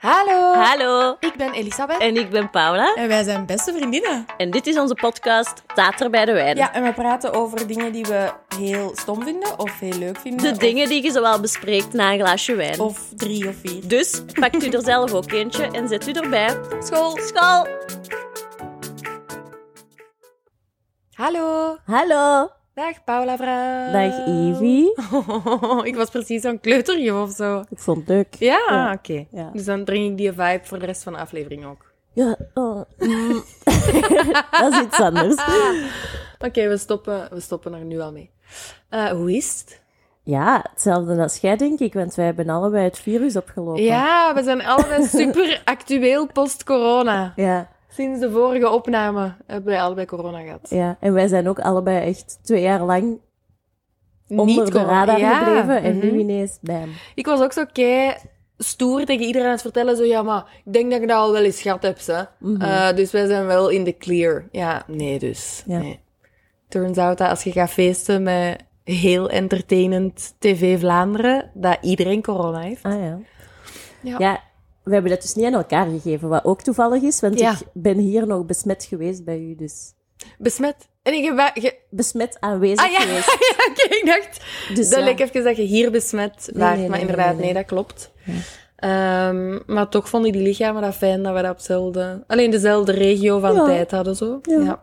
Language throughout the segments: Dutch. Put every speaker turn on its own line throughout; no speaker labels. Hallo,
Hallo,
ik ben Elisabeth
en ik ben Paula.
en wij zijn beste vriendinnen.
En dit is onze podcast Tater bij de Wijn.
Ja, en we praten over dingen die we heel stom vinden of heel leuk vinden.
De
of-
dingen die je zowel bespreekt na een glaasje wijn.
Of drie of vier.
Dus pakt u er zelf ook eentje en zet u erbij.
School.
School!
Hallo,
Hallo,
dag Paula Vrouw.
dag Ivy.
ik was precies zo'n kleuterje of zo.
Ik vond het leuk.
Ja,
Ja.
oké.
Ja.
Dus dan breng ik die vibe voor de rest van de aflevering ook.
Ja, oh, mm. dat is iets anders.
Oké, we, stoppen, we stoppen er nu al mee. Eh, hoe is het?
Ja, hetzelfde als jij, denk ik, want wij hebben allebei het virus opgelopen.
Ja, we zijn allebei super actueel post-corona.
Ja,
Sinds de vorige opname hebben wij allebei corona gehad.
ja. En wij zijn ook allebei echt twee jaar lang onder de
corona.
radar
Ja,
gebleven. En
mhm.
nu ineens, bam.
Ik was ook zo kei stoer tegen iedereen aan het vertellen. Zo, ja, maar ik denk dat ik dat al wel eens gehad heb, hè. Eh, dus wij zijn wel in de clear. Ja, nee dus.
Ja.
Nee. Turns out dat als je gaat feesten met heel entertainend TV Vlaanderen, dat iedereen corona heeft.
Ah ja.
Ja.
Ja. we hebben dat dus niet aan elkaar gegeven, wat ook toevallig is, want
Ja.
ik ben hier nog besmet geweest bij u, dus
Besmet. En ik heb... wa- ge-
besmet aanwezig
Ah ja, ja
geweest.
oké, ik dacht...
Dus
dat
ja.
leek even dat je hier besmet waart,
nee,
maar
nee,
inderdaad, nee,
nee, nee.
dat klopt. Ehm, maar toch vonden die lichamen dat fijn dat we dat op hetzelfde- alleen dezelfde regio van
Ja.
tijd hadden. Zo. Ja.
Ja.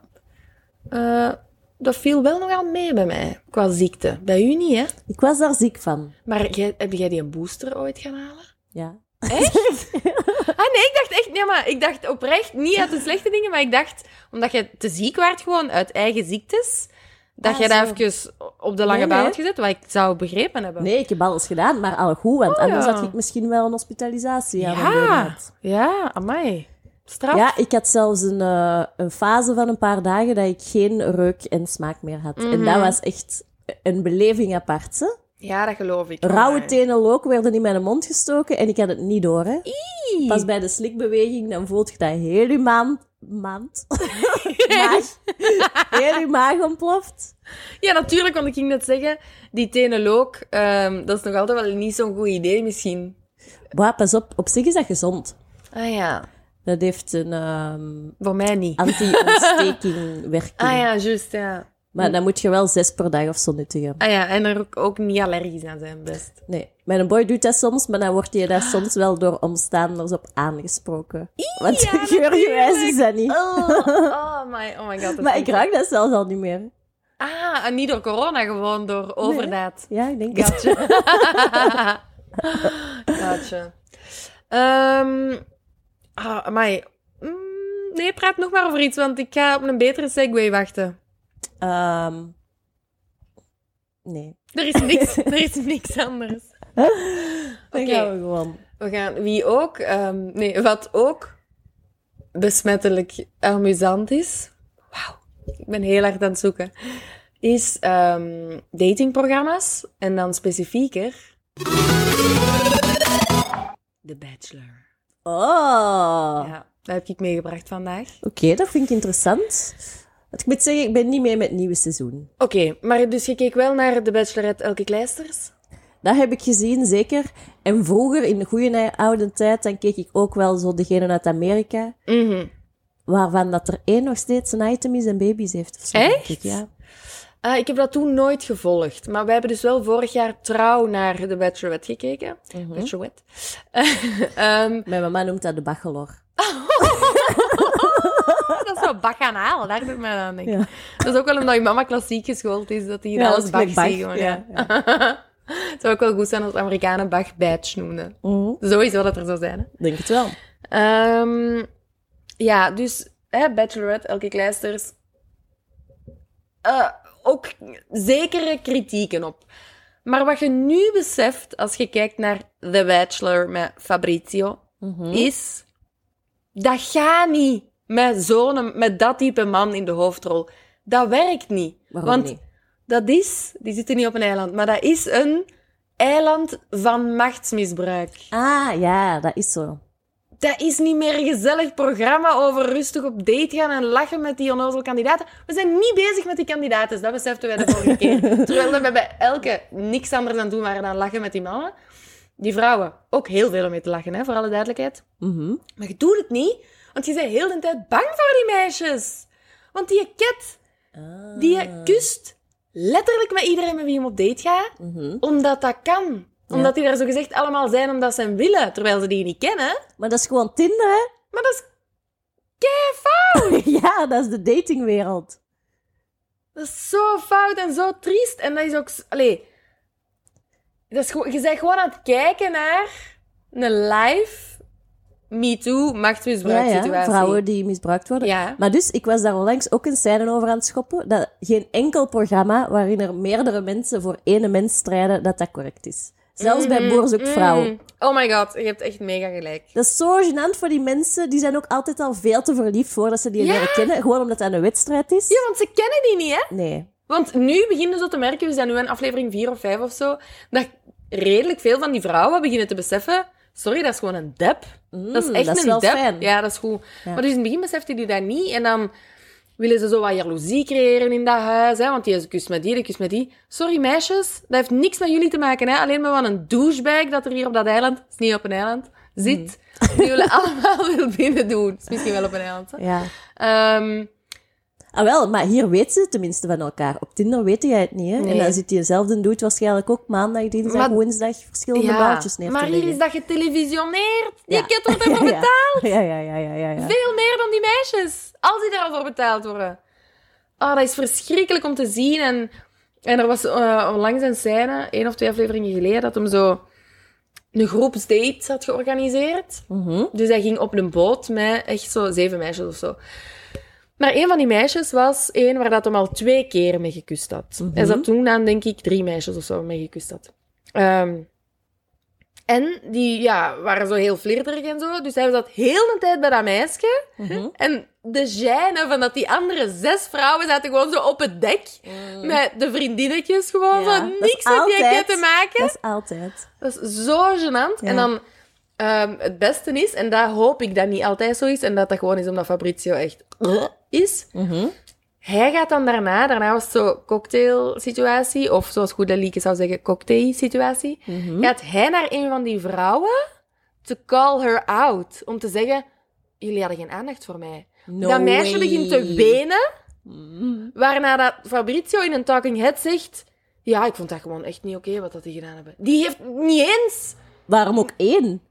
Eh, dat viel wel nogal mee bij mij, qua ziekte. Bij u niet, hè?
Ik was daar ziek van.
Maar jij, heb jij die een booster ooit gaan halen?
Ja.
Ah nee, ik dacht echt, nee, maar ik dacht oprecht niet uit de slechte dingen, maar ik dacht, omdat je te ziek werd gewoon uit eigen ziektes, dat
Ah,
jij
zo.
dat even op de lange
Nee,
baan
nee.
had gezet, wat ik zou begrepen hebben.
Nee, ik heb alles gedaan, maar al goed, want anders
Oh, ja.
had ik misschien wel een hospitalisatie aan mijn benen
Ja,
gehad.
ja, amai. Straf.
Ja, ik had zelfs een, eh, een fase van een paar dagen dat ik geen reuk en smaak meer had.
Mhm.
En dat was echt een beleving apart. Hè?
Ja, dat geloof ik.
Rauwe
Amai.
tenen look werden in mijn mond gestoken en ik had het niet door. Hè? Pas bij de slikbeweging, dan voelt je dat heel je maand... Maand? maag. Heel je maag ontploft.
Ja, natuurlijk, want ik ging net zeggen, die tenenlook, ehm dat is nog altijd wel niet zo'n goed idee misschien.
Boah, pas op, op zich is dat gezond.
Ah ja,
Dat heeft een ehm
voor mij niet.
anti-ontsteking werking.
Ah ja, juist, ja.
Maar dan moet je wel zes per dag of zo nuttigen.
Ah ja, en er ook, ook niet allergisch aan zijn, best.
Nee, mijn boy doet dat soms, maar dan wordt je daar soms wel door omstaanders op aangesproken. Want
ja,
geurgewijs is dat niet.
Oh, oh my, oh my god. dat
Maar
is
ik
niet-
ruik dat zelfs al niet meer.
Ah, en niet door corona, gewoon door overdaad.
Ja, ik denk het.
Gotcha. gotcha. Ehm ah, amai. Mm, nee, praat nog maar over iets, want ik ga op een betere segue wachten.
Ehm, nee.
Er is niks, er is niks anders.
Dan
Oké.
gaan we gewoon.
We gaan, wie ook, ehm, nee, wat ook besmettelijk amusant is, wauw, ik ben heel hard aan het zoeken, is ehm, datingprogramma's en dan specifieker The Bachelor.
Oh.
Ja, dat heb ik meegebracht vandaag.
Oké, dat vind ik interessant. Want ik moet zeggen, ik ben niet mee met het nieuwe seizoen.
Oké, maar dus je keek wel naar The Bachelorette Elke Kleisters?
Dat heb ik gezien, zeker. En vroeger, in de goede oude tijd, dan keek ik ook wel zo degene uit Amerika. Waarvan dat er één nog steeds een item is en baby's heeft. Of zo, denk
Echt?
ik, ja.
Ah, ik heb dat toen nooit gevolgd. Maar we hebben dus wel vorig jaar trouw naar The Bachelorette gekeken.
Mhm.
Bachelorette. Ehm,
Mijn mama noemt dat de bachelor.
Oh, dat is wel bakanaal, daar doet mij aan denken.
Ja.
Dat is ook wel omdat je mama klassiek geschoold is, dat hij hier
Ja,
alles
dat
bag
is met
ziet.
bag,
gewoon,
ja,
Ja. het zou ook wel goed zijn als de Amerikanen bag badge noemden.
Mhm.
Zoiets wel dat er zou zijn. hè.
Denk het wel.
Ehm, ja, dus hè, Bachelorette, Elke Kleisters. Eh, ook zekere kritieken op. Maar wat je nu beseft als je kijkt naar The Bachelor met Fabrizio,
Mhm.
is dat gaat niet met zo'n, met dat type man in de hoofdrol. Dat werkt niet.
Waarom
Want
niet?
dat is, die zitten niet op een eiland, maar dat is een eiland van machtsmisbruik.
Ah, ja, dat is zo.
Dat is niet meer een gezellig programma over rustig op date gaan en lachen met die onnozel kandidaten. We zijn niet bezig met die kandidaten, dat beseften wij de vorige keer. Terwijl dat we bij elke niks anders aan doen waren dan lachen met die mannen. die vrouwen ook heel veel om mee te lachen, hè, voor alle duidelijkheid.
Mhm.
Maar je doet het niet, want je bent heel de tijd bang voor die meisjes. Want die cat,
Ah.
die eh, kust letterlijk met iedereen met wie je op date gaat,
Mhm.
omdat dat kan. Omdat die daar zogezegd allemaal zijn omdat ze hem willen, terwijl ze die niet kennen.
Maar dat is gewoon Tinder, hè?
Maar dat is,
ja, dat is de datingwereld.
dat is zo fout en zo triest. En dat is ook... s- Allee, dat is gewoon, je bent gewoon aan het kijken naar een live MeToo
Ja,
machtsmisbruik
ja,
situatie.
vrouwen die misbruikt worden.
Ja.
Maar dus, ik was daar onlangs ook een scène over aan het schoppen, dat geen enkel programma waarin er meerdere mensen voor ene mens strijden, dat dat correct is. Zelfs bij Boer zoekt vrouw.
Mm. Oh my god, je hebt echt mega gelijk.
Dat is zo gênant voor die mensen. Die zijn ook altijd al veel te verliefd voordat ze die
Ja.
leren kennen. Gewoon omdat dat een wedstrijd is.
Ja, want ze kennen die niet, hè?
Nee.
Want nu beginnen ze te merken, we zijn nu in aflevering 4 of 5 of zo, dat redelijk veel van die vrouwen beginnen te beseffen, sorry, dat is gewoon een dep.
Mm,
dat is echt een
wel
dep.
fijn.
Ja, dat is goed.
Ja.
Maar dus in het begin beseften die dat niet en dan willen ze zo wat jaloezie creëren in dat huis, hè? want die is kus met die, die kus met die. Sorry meisjes, dat heeft niks met jullie te maken, hè? alleen maar van een douchebag dat er hier op dat eiland, het is niet op een eiland, zit,
Mm.
die jullie allemaal wil binnen doen. Het is misschien wel op een eiland. hè.
Ja.
Ehm,
Ah wel, maar hier weten ze het tenminste van elkaar. Op Tinder weet jij het niet, hè?
Nee.
En dan zit diezelfde dude waarschijnlijk ook maandag, dinsdag,
Maar-
woensdag verschillende baaltjes neer te
maar hier
leggen.
is dat getelevisioneerd. Die
Ja.
ket wordt ervoor
Ja, ja.
betaald.
Ja, ja, ja, ja, ja. ja.
Veel meer dan die meisjes. Als die daarvoor betaald worden. Oh, dat is verschrikkelijk om te zien. En, en er was eh, onlangs een scène, één of twee afleveringen geleden, dat hem zo een groepsdate had georganiseerd.
Mhm.
Dus hij ging op een boot met echt zo zeven meisjes of zo. Maar een van die meisjes was één waar dat hem al twee keer mee gekust had.
Mhm.
Hij zat toen aan, denk ik, drie meisjes of zo mee gekust had. Ehm, en die ja, waren zo heel flirterig en zo. Dus hij zat heel de tijd bij dat meisje.
Mhm.
En de gêne van dat die andere zes vrouwen zaten gewoon zo op het dek. Met de vriendinnetjes gewoon
Ja,
van
dat is
niks met die
altijd-
ket te maken.
Dat is altijd.
Dat is zo gênant.
Ja.
En dan ehm, het beste is, en daar hoop ik dat niet altijd zo is, en dat dat gewoon is omdat Fabrizio echt is.
Mhm.
Hij gaat dan daarna, daarna was het zo cocktail-situatie, of zoals Goede Lieke zou zeggen, cocktail-situatie.
Mhm.
Gaat hij naar een van die vrouwen to call her out, om te zeggen, jullie hadden geen aandacht voor mij.
No
dat meisje
way.
begint te wenen,
Mhm.
waarna dat Fabrizio in een talking head zegt, ja, ik vond dat gewoon echt niet oké wat dat die gedaan hebben. Die heeft niet eens
Waarom ook één?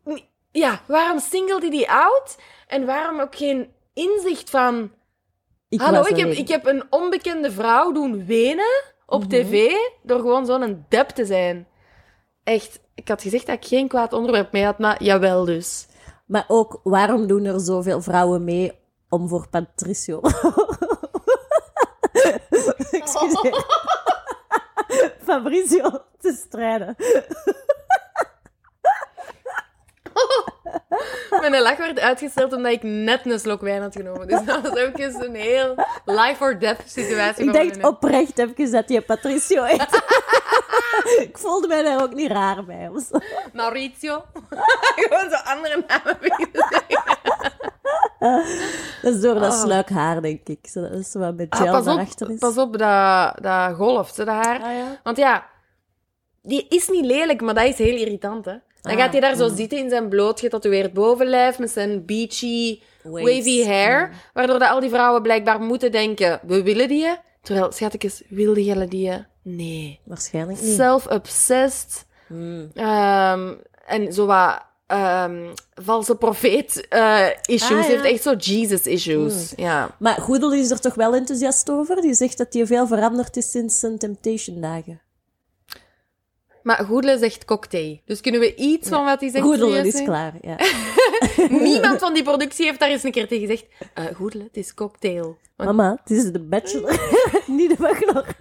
ja, waarom singelde die out? En waarom ook geen inzicht van...
Ik
Hallo,
was
ik heb,
alleen.
ik heb een onbekende vrouw doen wenen op
Mhm.
tv door gewoon zo'n dep te zijn. Echt, ik had gezegd dat ik geen kwaad onderwerp mee had, maar jawel dus.
Maar ook, waarom doen er zoveel vrouwen mee om voor Patricio? Excuseer. Fabrizio te strijden.
Mijn lach werd uitgesteld omdat ik net een slok wijn had genomen. Dus dat was ook eens een heel life or death situatie.
Ik
voor mij
dacht
nu.
oprecht even dat je Patricio heet. ik voelde mij daar ook niet raar bij. of zo.
Maurizio. gewoon zo andere namen beginnen te zeggen.
Dat is door dat
Oh.
sluik haar, denk ik. Zo, dat is zo wat met gel
Ah, pas,
daarachter
op,
is.
pas op, dat, dat golft, hè, dat haar.
Ah, ja.
Want ja, die is niet lelijk, maar dat is heel irritant, hè. Dan
Ah,
gaat hij daar zo
mm.
zitten in zijn bloot getatoeëerd bovenlijf met zijn beachy,
Waves.
wavy
mm.
hair. Waardoor dat al die vrouwen blijkbaar moeten denken, we willen die. Terwijl, schattekes, wilde jullie die? Nee.
Waarschijnlijk niet.
Self-obsessed.
Mm.
ehm, en zo wat ehm, valse profeet eh, issues.
Ah, ja. Mm.
Ze heeft echt zo Jesus issues. Ja.
Maar Goedel is er toch wel enthousiast over? Die zegt dat hij veel veranderd is sinds zijn Temptation-dagen.
Maar Goedele zegt cocktail. Dus kunnen we iets van wat hij zegt
Goedel
serieus
is
nemen?
klaar, ja.
Niemand van die productie heeft daar eens een keer tegen gezegd. eh goedele, het is cocktail. Want
Mama, het is de bachelor, niet de bachelor.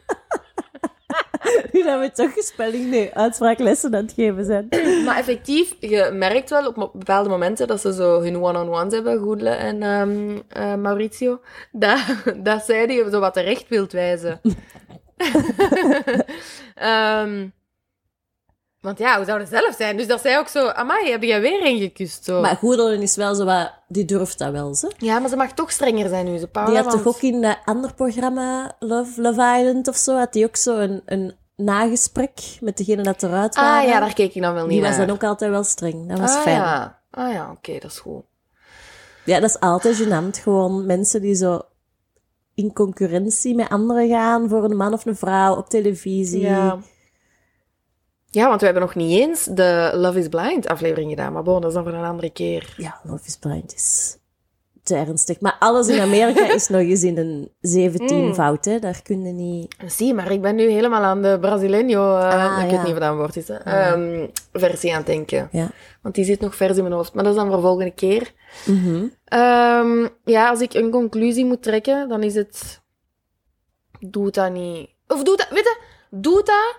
Nu dat we toch spelling, nee, uitspraaklessen aan het geven zijn.
Maar effectief, je merkt wel op mo- bepaalde momenten dat ze zo hun one-on-ones hebben, Goedele en ehm, eh, Maurizio, dat, dat zij die zo wat terecht wilt wijzen. Ehm, want ja, hoe zou het zelf zijn? Dus dat zij ook zo, amai, heb jij weer een gekust? Zo.
Maar Goedelen is wel zo wat, die durft dat wel, ze.
ja, maar ze mag toch strenger zijn nu, ze Paula.
Die had
want-
toch ook in dat ander programma, Love, Love Island of zo, had die ook zo een, een nagesprek met degene dat eruit waren.
Ah ja, daar keek ik dan wel niet
die was
naar.
dan ook altijd wel streng. Dat was
ah,
fijn. Ja.
Ja. Ah ja, oké, dat is goed.
dat is altijd gênant. Gewoon mensen die zo in concurrentie met anderen gaan voor een man of een vrouw op televisie.
Ja. ja, want we hebben nog niet eens de Love is Blind aflevering gedaan. Maar bon, dat is dan voor een andere keer.
Ja, Love is Blind is te ernstig. Maar alles in Amerika is nog eens in een 17 fout, hè. Daar kun je niet...
Zie, maar ik ben nu helemaal aan de Brasileño, eh,
Ah,
ik
ja.
weet niet wat dat woord is, hè, ehm, versie aan het denken.
Ja.
Want die zit nog vers in mijn hoofd. Maar dat is dan voor volgende keer.
Mhm.
Ehm, ja, als ik een conclusie moet trekken, dan is het... Doe dat niet. Of doe dat... Weet je, doe dat...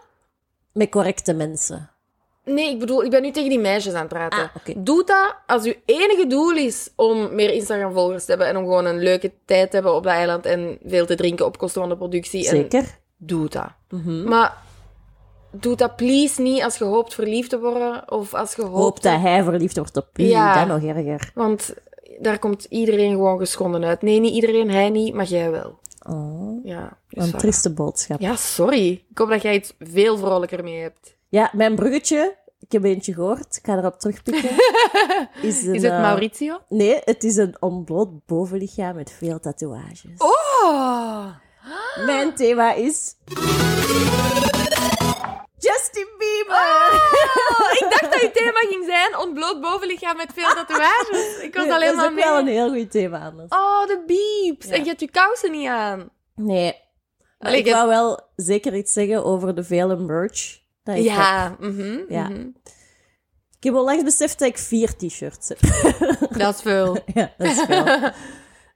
Met correcte mensen.
Nee, ik bedoel, ik ben nu tegen die meisjes aan het praten.
Ah, oké.
Doe dat als uw enige doel is om meer Instagram-volgers te hebben en om gewoon een leuke tijd te hebben op dat eiland en veel te drinken op kosten van de productie. En
Zeker. Mhm.
doe dat. Maar doe dat please niet als je hoopt verliefd te worden of als je hoopt...
Hoop dat hij verliefd wordt op u.
Ja.
Dat nog erger.
Want daar komt iedereen gewoon geschonden uit. Nee, niet iedereen, hij niet, maar jij wel.
Oh,
Ja, dus
wat een
voilà.
trieste boodschap.
Ja, sorry. Ik hoop dat jij iets veel vrolijker mee hebt.
Ja, mijn bruggetje, ik heb eentje gehoord, ik ga erop terugpikken. Is, een,
Is het
eh,
Maurizio?
Nee, het is een ontbloot bovenlichaam met veel tatoeages.
Oh!
Mijn thema is... Justin
Oh,
Bieber!
Ik dacht dat je thema ging zijn ontbloot bovenlichaam met veel tatoeages. Ik was
Nee,
alleen
dat is
maar
ook wel een
mee.
heel goed thema anders.
Oh, de beeps. En je hebt je kousen niet aan.
Nee. Maar
Allee,
ik
ik-
wou wel zeker iets zeggen over de vele merch. Dat ik, heb.
ja. mhm,
Ja.
mhm.
ik heb onlangs beseft dat ik vier t-shirts heb.
Dat is veel.
ja, dat is veel.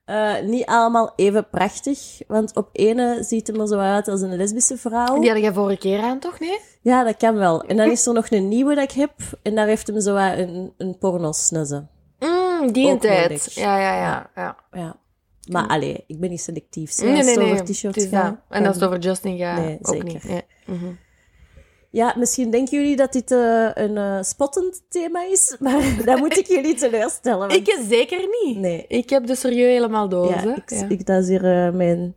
Eh, niet allemaal even prachtig, want op ene ziet hem er zo uit als een lesbische vrouw.
Die had jij vorige keer aan, toch? Nee?
Ja, dat kan wel. En dan is er nog een nieuwe dat ik heb. En daar heeft hem zo wat een, een porno snuzzen.
Mm, die in
Ook wel
tijd.
niks.
Ja, ja, ja. ja.
Ja. Maar allee, ik ben niet selectief. Zo,
Nee,
als
nee,
het
nee.
over t-shirts
Het is dat.
gaat,
En als
dan-
het over Justin gaat,
Nee,
ook
zeker.
niet. Nee. Mhm.
Ja, misschien denken jullie dat dit eh, een eh, spottend thema is. Maar dan moet ik jullie teleurstellen. want-
Ik zeker niet.
Nee.
Ik heb de serieus helemaal door.
ja,
hè.
ik,
Ja.
ik dat is hier eh, mijn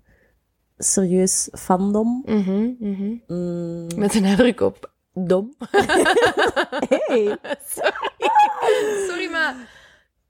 serieus fandom.
Mhm, mhm.
Mm,
Met een nadruk op dom.
hey.
Sorry, maar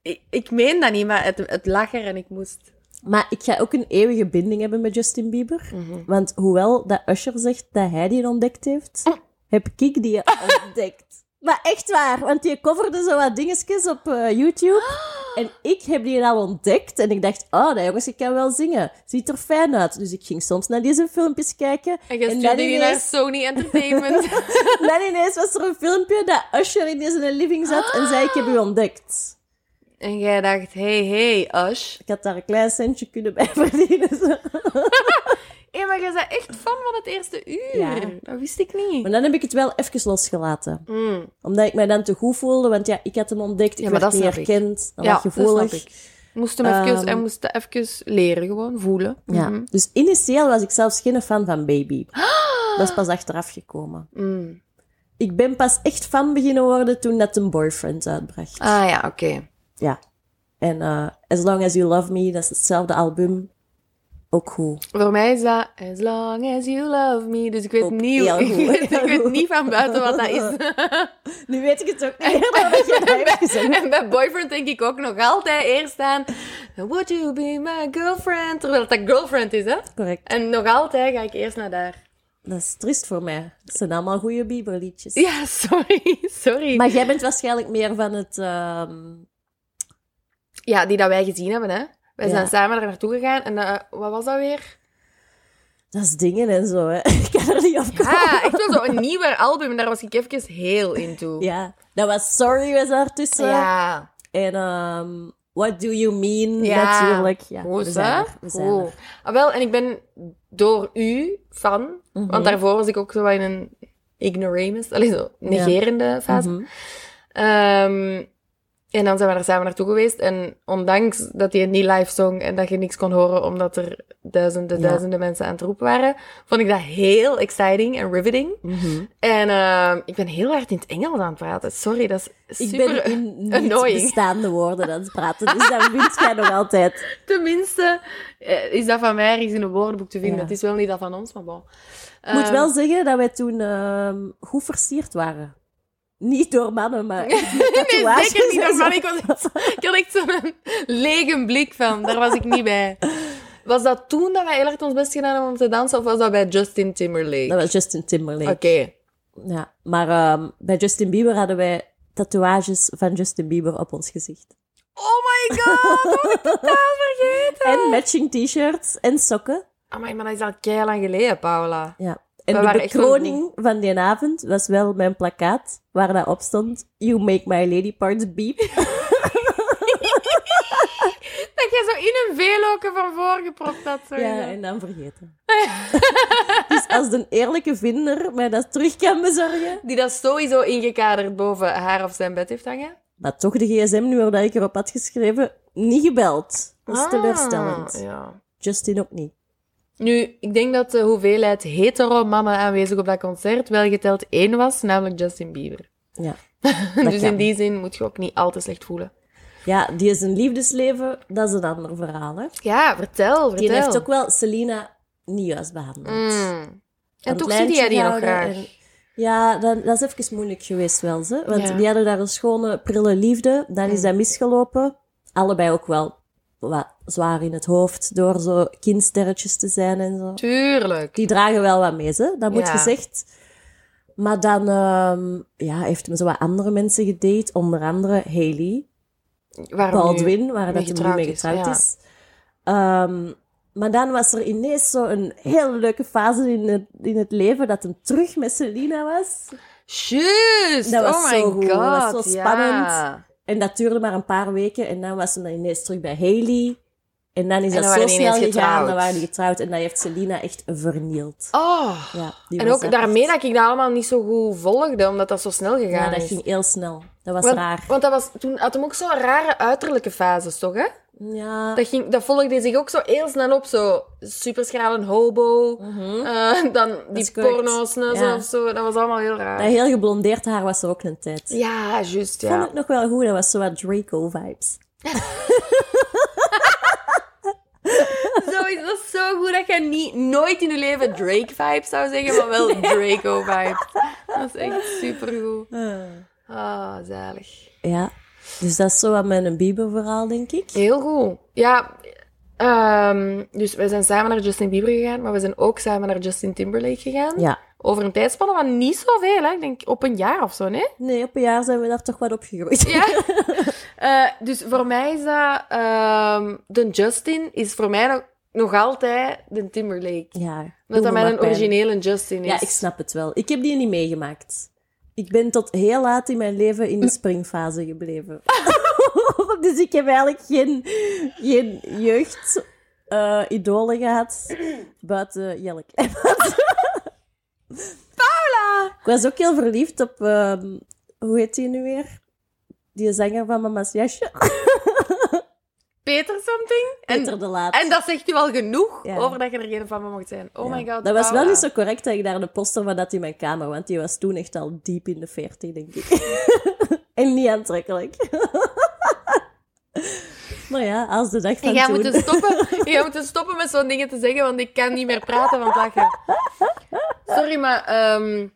ik, ik meen dat niet, maar het, het lag er en ik moest.
Maar ik ga ook een eeuwige binding hebben met Justin Bieber.
Mhm.
Want hoewel dat Usher zegt dat hij die ontdekt heeft,
Ah.
heb ik die ontdekt. Maar echt waar, want die coverde zo wat dingetjes op eh, YouTube.
Ah.
En ik heb die al ontdekt. En ik dacht, oh, dat jongensje kan wel zingen. Ziet er fijn uit. Dus ik ging soms naar deze filmpjes kijken.
En dus- je
dan
stuurde je naar
ineens,
Sony Entertainment.
dan ineens was er een filmpje dat Usher in zijn living zat en zei, ik heb u ontdekt.
en jij dacht, hey, hey, Ash.
Ik had daar een klein centje kunnen bij verdienen.
Hé, maar jij bent echt fan van het eerste uur.
Ja.
Dat wist ik niet.
Maar dan heb ik het wel even losgelaten.
Mm.
Omdat ik mij dan te goed voelde, want ja, ik had hem ontdekt, ik
Ja, maar
werd
dat
niet
snap ik.
herkend, dat was
dat
gevoelig.
snap ik. Moest hem even,
Ehm.
hij moest dat even leren, gewoon voelen.
Ja.
Mhm.
Dus initieel was ik zelfs geen fan van Baby. Dat is pas achteraf gekomen.
Mm.
Ik ben pas echt fan beginnen worden toen dat een boyfriend uitbracht.
Ah ja, oké.
Ja. En eh, As Long As You Love Me, dat is hetzelfde album. Ook goed.
Voor mij is dat As Long As You Love Me. Dus ik weet,
Ook
niet,
heel
ik,
goed.
weet, ik
Heel
weet
goed.
niet van buiten wat dat is.
Nu weet ik het ook niet meer, maar dat je dat hebt gezegd.
En bij Boyfriend denk ik ook nog altijd eerst aan Would you be my girlfriend? Terwijl dat girlfriend is, hè?
Correct.
En nog altijd ga ik eerst naar daar.
Dat is triest voor mij. Het zijn allemaal goede Bieber-liedjes.
Ja, sorry, sorry.
Maar jij bent waarschijnlijk meer van het... ehm,
Ja, die dat wij gezien hebben, hè? Wij
Ja.
zijn samen daar naartoe gegaan en eh, wat was dat weer?
dat is dingen en zo, hè. Ik kan er niet op komen.
Ah, echt wel zo'n nieuwe album en daar was ik even heel into.
Ja, dat was Sorry was daartussen.
Ja,
En ehm, What Do You Mean,
Ja.
natuurlijk. Ja,
goed
we
hè?
zijn er. We zijn
Goed.
er.
Ah, wel, en ik ben door u fan,
Mhm.
want daarvoor was ik ook zo in een ignoramus, alleen zo negerende fase.
Mhm.
Ehm, En dan zijn we er samen naartoe geweest. En ondanks dat hij het niet live zong en dat je niks kon horen omdat er duizenden,
Ja.
duizenden mensen aan het roepen waren, vond ik dat heel exciting en riveting.
Mhm.
En ehm, ik ben heel hard in het Engels aan het praten. Sorry, dat is
Ik
super...
ben in niet
annoying.
bestaande woorden aan het praten, dus dat wint jij nog altijd.
Tenminste, eh, is dat van mij ergens in een woordenboek te vinden.
Ja.
Het is wel niet dat van ons, maar bon.
Ik moet
Ehm,
wel zeggen dat wij toen ehm, goed versierd waren. Niet door mannen, maar echt met
Nee,
tatoeages.
zeker niet
en zo.
normaal. Ik, was echt- ik had echt zo'n lege blik van, daar was ik niet bij. Was dat toen dat wij heel hard ons best gedaan hebben om te dansen, of was dat bij Justin Timberlake?
Dat was Justin Timberlake.
Oké.
Ja, maar ehm, bij Justin Bieber hadden wij tatoeages van Justin Bieber op ons gezicht.
Oh my god, dat had ik totaal vergeten.
En matching t-shirts en sokken.
Amai, maar dat is al keihard lang geleden, Paula.
Ja.
We
En de
waren echt
bekroning van die avond was wel mijn plakkaat, waar dat op stond, You make my lady parts
Oh,
beep.
Dat jij zo in een veeloke van voren gepropt had. Zo
Ja, en dan vergeten. dus als een eerlijke vinder mij dat terug kan bezorgen.
Die dat sowieso ingekaderd boven haar of zijn bed heeft hangen.
Maar toch de gsm-nummer dat ik erop had geschreven, niet gebeld. Dat is
Ah,
teleurstellend.
Ja.
Justin ook niet.
Nu, ik denk dat de hoeveelheid hetero mannen aanwezig op dat concert wel geteld één was, namelijk Justin Bieber.
Ja.
dus
kan.
in die zin moet je ook niet al te slecht voelen.
Ja, die is een liefdesleven, dat is een ander verhaal. Hè.
Ja, vertel, vertel.
Die heeft ook wel Selena niet juist behandeld. Aan
Mm. En
het
toch zie jij
lijntje
die nog
gehouden
graag.
en- Ja, dat, dat is even moeilijk geweest wel. Ze. Want
Ja.
die hadden daar een schone, prille liefde. Dan is
Mm.
dat misgelopen. Allebei ook wel wat zwaar in het hoofd door zo kindsterretjes te zijn en zo.
Tuurlijk.
Die dragen wel wat mee, ze. dat moet
Ja.
gezegd. Maar dan ehm, ja, heeft hem zo wat andere mensen gedate. Onder andere Haley.
Waarom nu?
Baldwin,
mee
waar dat hij nu
getrouwd
mee
is,
getrouwd
ja.
is. Ehm, maar dan was er ineens zo'n heel leuke fase in het, in het leven dat hem terug met Selena was.
Juist!
Dat was
oh my
zo goed,
god.
dat was zo
Ja.
spannend. En dat duurde maar een paar weken. En dan was hem dan ineens terug bij Haley. En dan is
En dan
dat zo
waren die
snel
ineens
gegaan. Dan
getrouwd.
waren die getrouwd. En dat heeft Selena echt vernield.
Oh.
Ja, die
En
was
ook
daar
daarmee
echt-
dat ik dat allemaal niet zo goed volgde, omdat dat zo snel gegaan
Ja, dat
is.
ging heel snel. Dat was
want,
raar.
Want dat was, toen had hem ook zo'n rare uiterlijke fases, toch? Hè?
Ja.
Dat, ging, dat volgde zich ook zo heel snel op. Zo superschraal een hobo. eh, dan die
is correct.
porno's
Ja.
of zo. Dat was allemaal heel raar.
Dat heel geblondeerd haar was er ook een tijd.
Ja, juist,
Vond
ja.
ik nog wel goed. Dat was zo wat Draco-vibes.
Zo is dat zo goed dat je niet, nooit in je leven Drake-vibes zou zeggen, maar wel Draco-vibes. Dat is echt supergoed. Ah, zalig.
Ja, dus dat is zo wat met een Bieber-verhaal, denk ik.
Heel goed. Ja, ehm, dus we zijn samen naar Justin Bieber gegaan, maar we zijn ook samen naar Justin Timberlake gegaan.
Ja.
Over een tijdspanne van niet zoveel, hè. Ik denk op een jaar of zo, nee?
Nee, op een jaar zijn we daar toch wat opgegroeid.
Ja. Eh, dus voor mij is dat... ehm, de Justin is voor mij nog, nog altijd de Timberlake.
Ja, doe
Omdat
me
dat
maar
mijn
pijn.
originele Justin is.
Ja, ik snap het wel. Ik heb die niet meegemaakt. Ik ben tot heel laat in mijn leven in de springfase gebleven. dus ik heb eigenlijk geen, geen jeugd eh, idolen gehad buiten Jelle Paula! Ik was ook heel verliefd op, ehm, hoe heet die nu weer? Die zanger van Mama's Jasje.
Peter something.
Peter
En,
de Laat.
en dat zegt u al genoeg
Ja.
over dat je er geen van me mocht zijn. Oh
Ja.
my god,
Dat was wel
Paula.
niet zo correct dat ik daar de poster van had in mijn kamer, want die was toen echt al diep in de 40, denk ik. en niet aantrekkelijk. maar ja, als de dag
En
van
jij
toen.
moet, dus stoppen, jij moet dus stoppen met zo'n dingen te zeggen, want ik kan niet meer praten van het lachen. Sorry, maar ehm,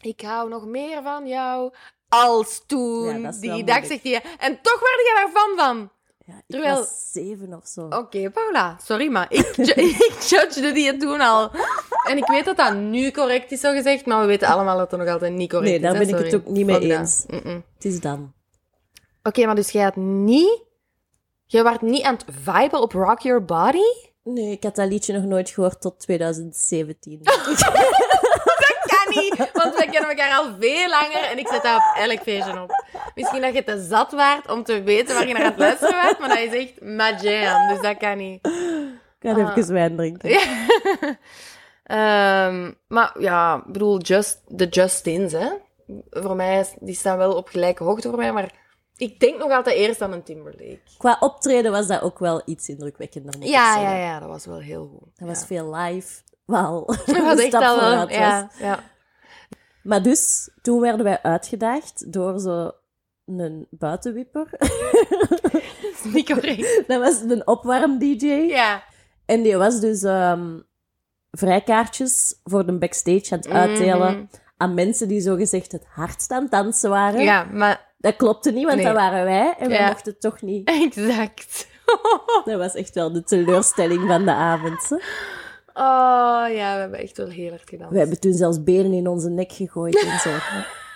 ik hou nog meer van jou als toen.
Ja, dat is wel
die dag zegt
moeilijk.
hij. En toch werd jij daar fan van.
Ja, ik
terwijl- Oh.
was zeven of zo.
Oké, Paula, sorry, maar ik, ju- ik judgede die het toen al. En ik weet dat dat nu correct is, zo gezegd, maar we weten allemaal dat het nog altijd niet correct
Nee,
is.
daar
hè,
ben ik het
sorry.
ook niet mee
Fuck dat.
eens.
Mm-mm.
Het is dan.
Oké, maar dus jij had niet... Jij werd niet aan het viben op Rock Your Body?
Nee, ik had dat liedje nog nooit gehoord tot 2017.
Kan niet, want wij kennen elkaar al veel langer en ik zet dat op elk feestje op. Misschien dat je te zat waard om te weten waar je naar aan het luisteren waart, maar dat is echt my jam, dus dat kan niet.
ik ga
Ah.
even wijn drinken.
Ehm, maar ja, ik bedoel, just, de Justins, hè. Voor mij, is- die staan wel op gelijke hoogte voor mij, maar Ik denk nog altijd eerst aan een Timberlake.
Qua optreden was dat ook wel iets indrukwekkender. moet ik
Ja,
zeggen.
ja, ja, dat was wel heel goed.
Dat was
ja.
veel live. Wel,
Dat
een
was echt
stap
al wel.
vooruit was.
Ja, ja.
Maar dus, toen werden wij uitgedaagd door zo'n buitenwipper.
Niet correct.
dat was een opwarm-dj.
Ja.
En die was dus ehm, vrijkaartjes voor de backstage aan het uitdelen
Mhm.
aan mensen die zogezegd het hardst aan het dansen waren.
Ja, maar
Dat klopte niet, want
Nee.
dat waren wij en wij
Ja.
mochten toch niet.
exact.
Dat was echt wel de teleurstelling van de avond. hè.
Oh ja, we hebben echt wel heel hard gedaan.
We hebben toen zelfs benen in onze nek gegooid en zo.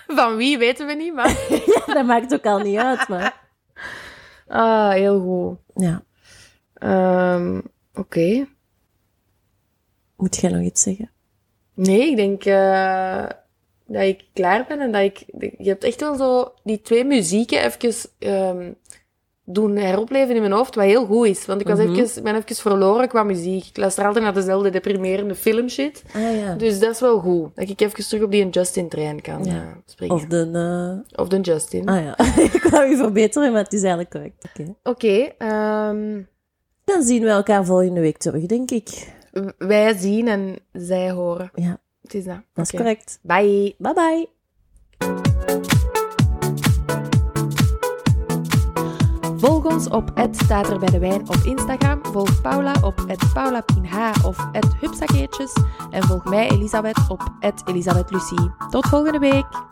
Van wie weten we niet, maar.
dat maakt ook al niet uit, maar...
Ah, heel goed.
Ja,
Ehm, Oké.
moet jij nog iets zeggen?
Nee, ik denk eh, dat ik klaar ben en dat ik. Je hebt echt wel zo die twee muzieken even ehm, doen heropleven in mijn hoofd, wat heel goed is. Want ik was
Mhm.
even, ben even verloren qua muziek. Ik luister altijd naar dezelfde deprimerende filmshit.
Ah ja.
Dus dat is wel goed. Dat ik even terug op die Justin-trein kan
Ja.
eh, springen.
Of
Of,
de... eh,
de Justin.
Ah ja, ik wou je verbeteren, maar het is eigenlijk correct. Oké.
Oké, ehm,
Dan zien we elkaar volgende week terug, denk ik.
w- wij zien en zij horen.
Ja,
Het is dat.
dat is
Oké.
correct.
Bye.
Bye bye.
Volg ons op het staat er bij de wijn op Instagram. Volg Paula op het paulapinh of het hupsakeertjes. En volg mij Elisabeth op het Elisabeth Lucie. Tot volgende week.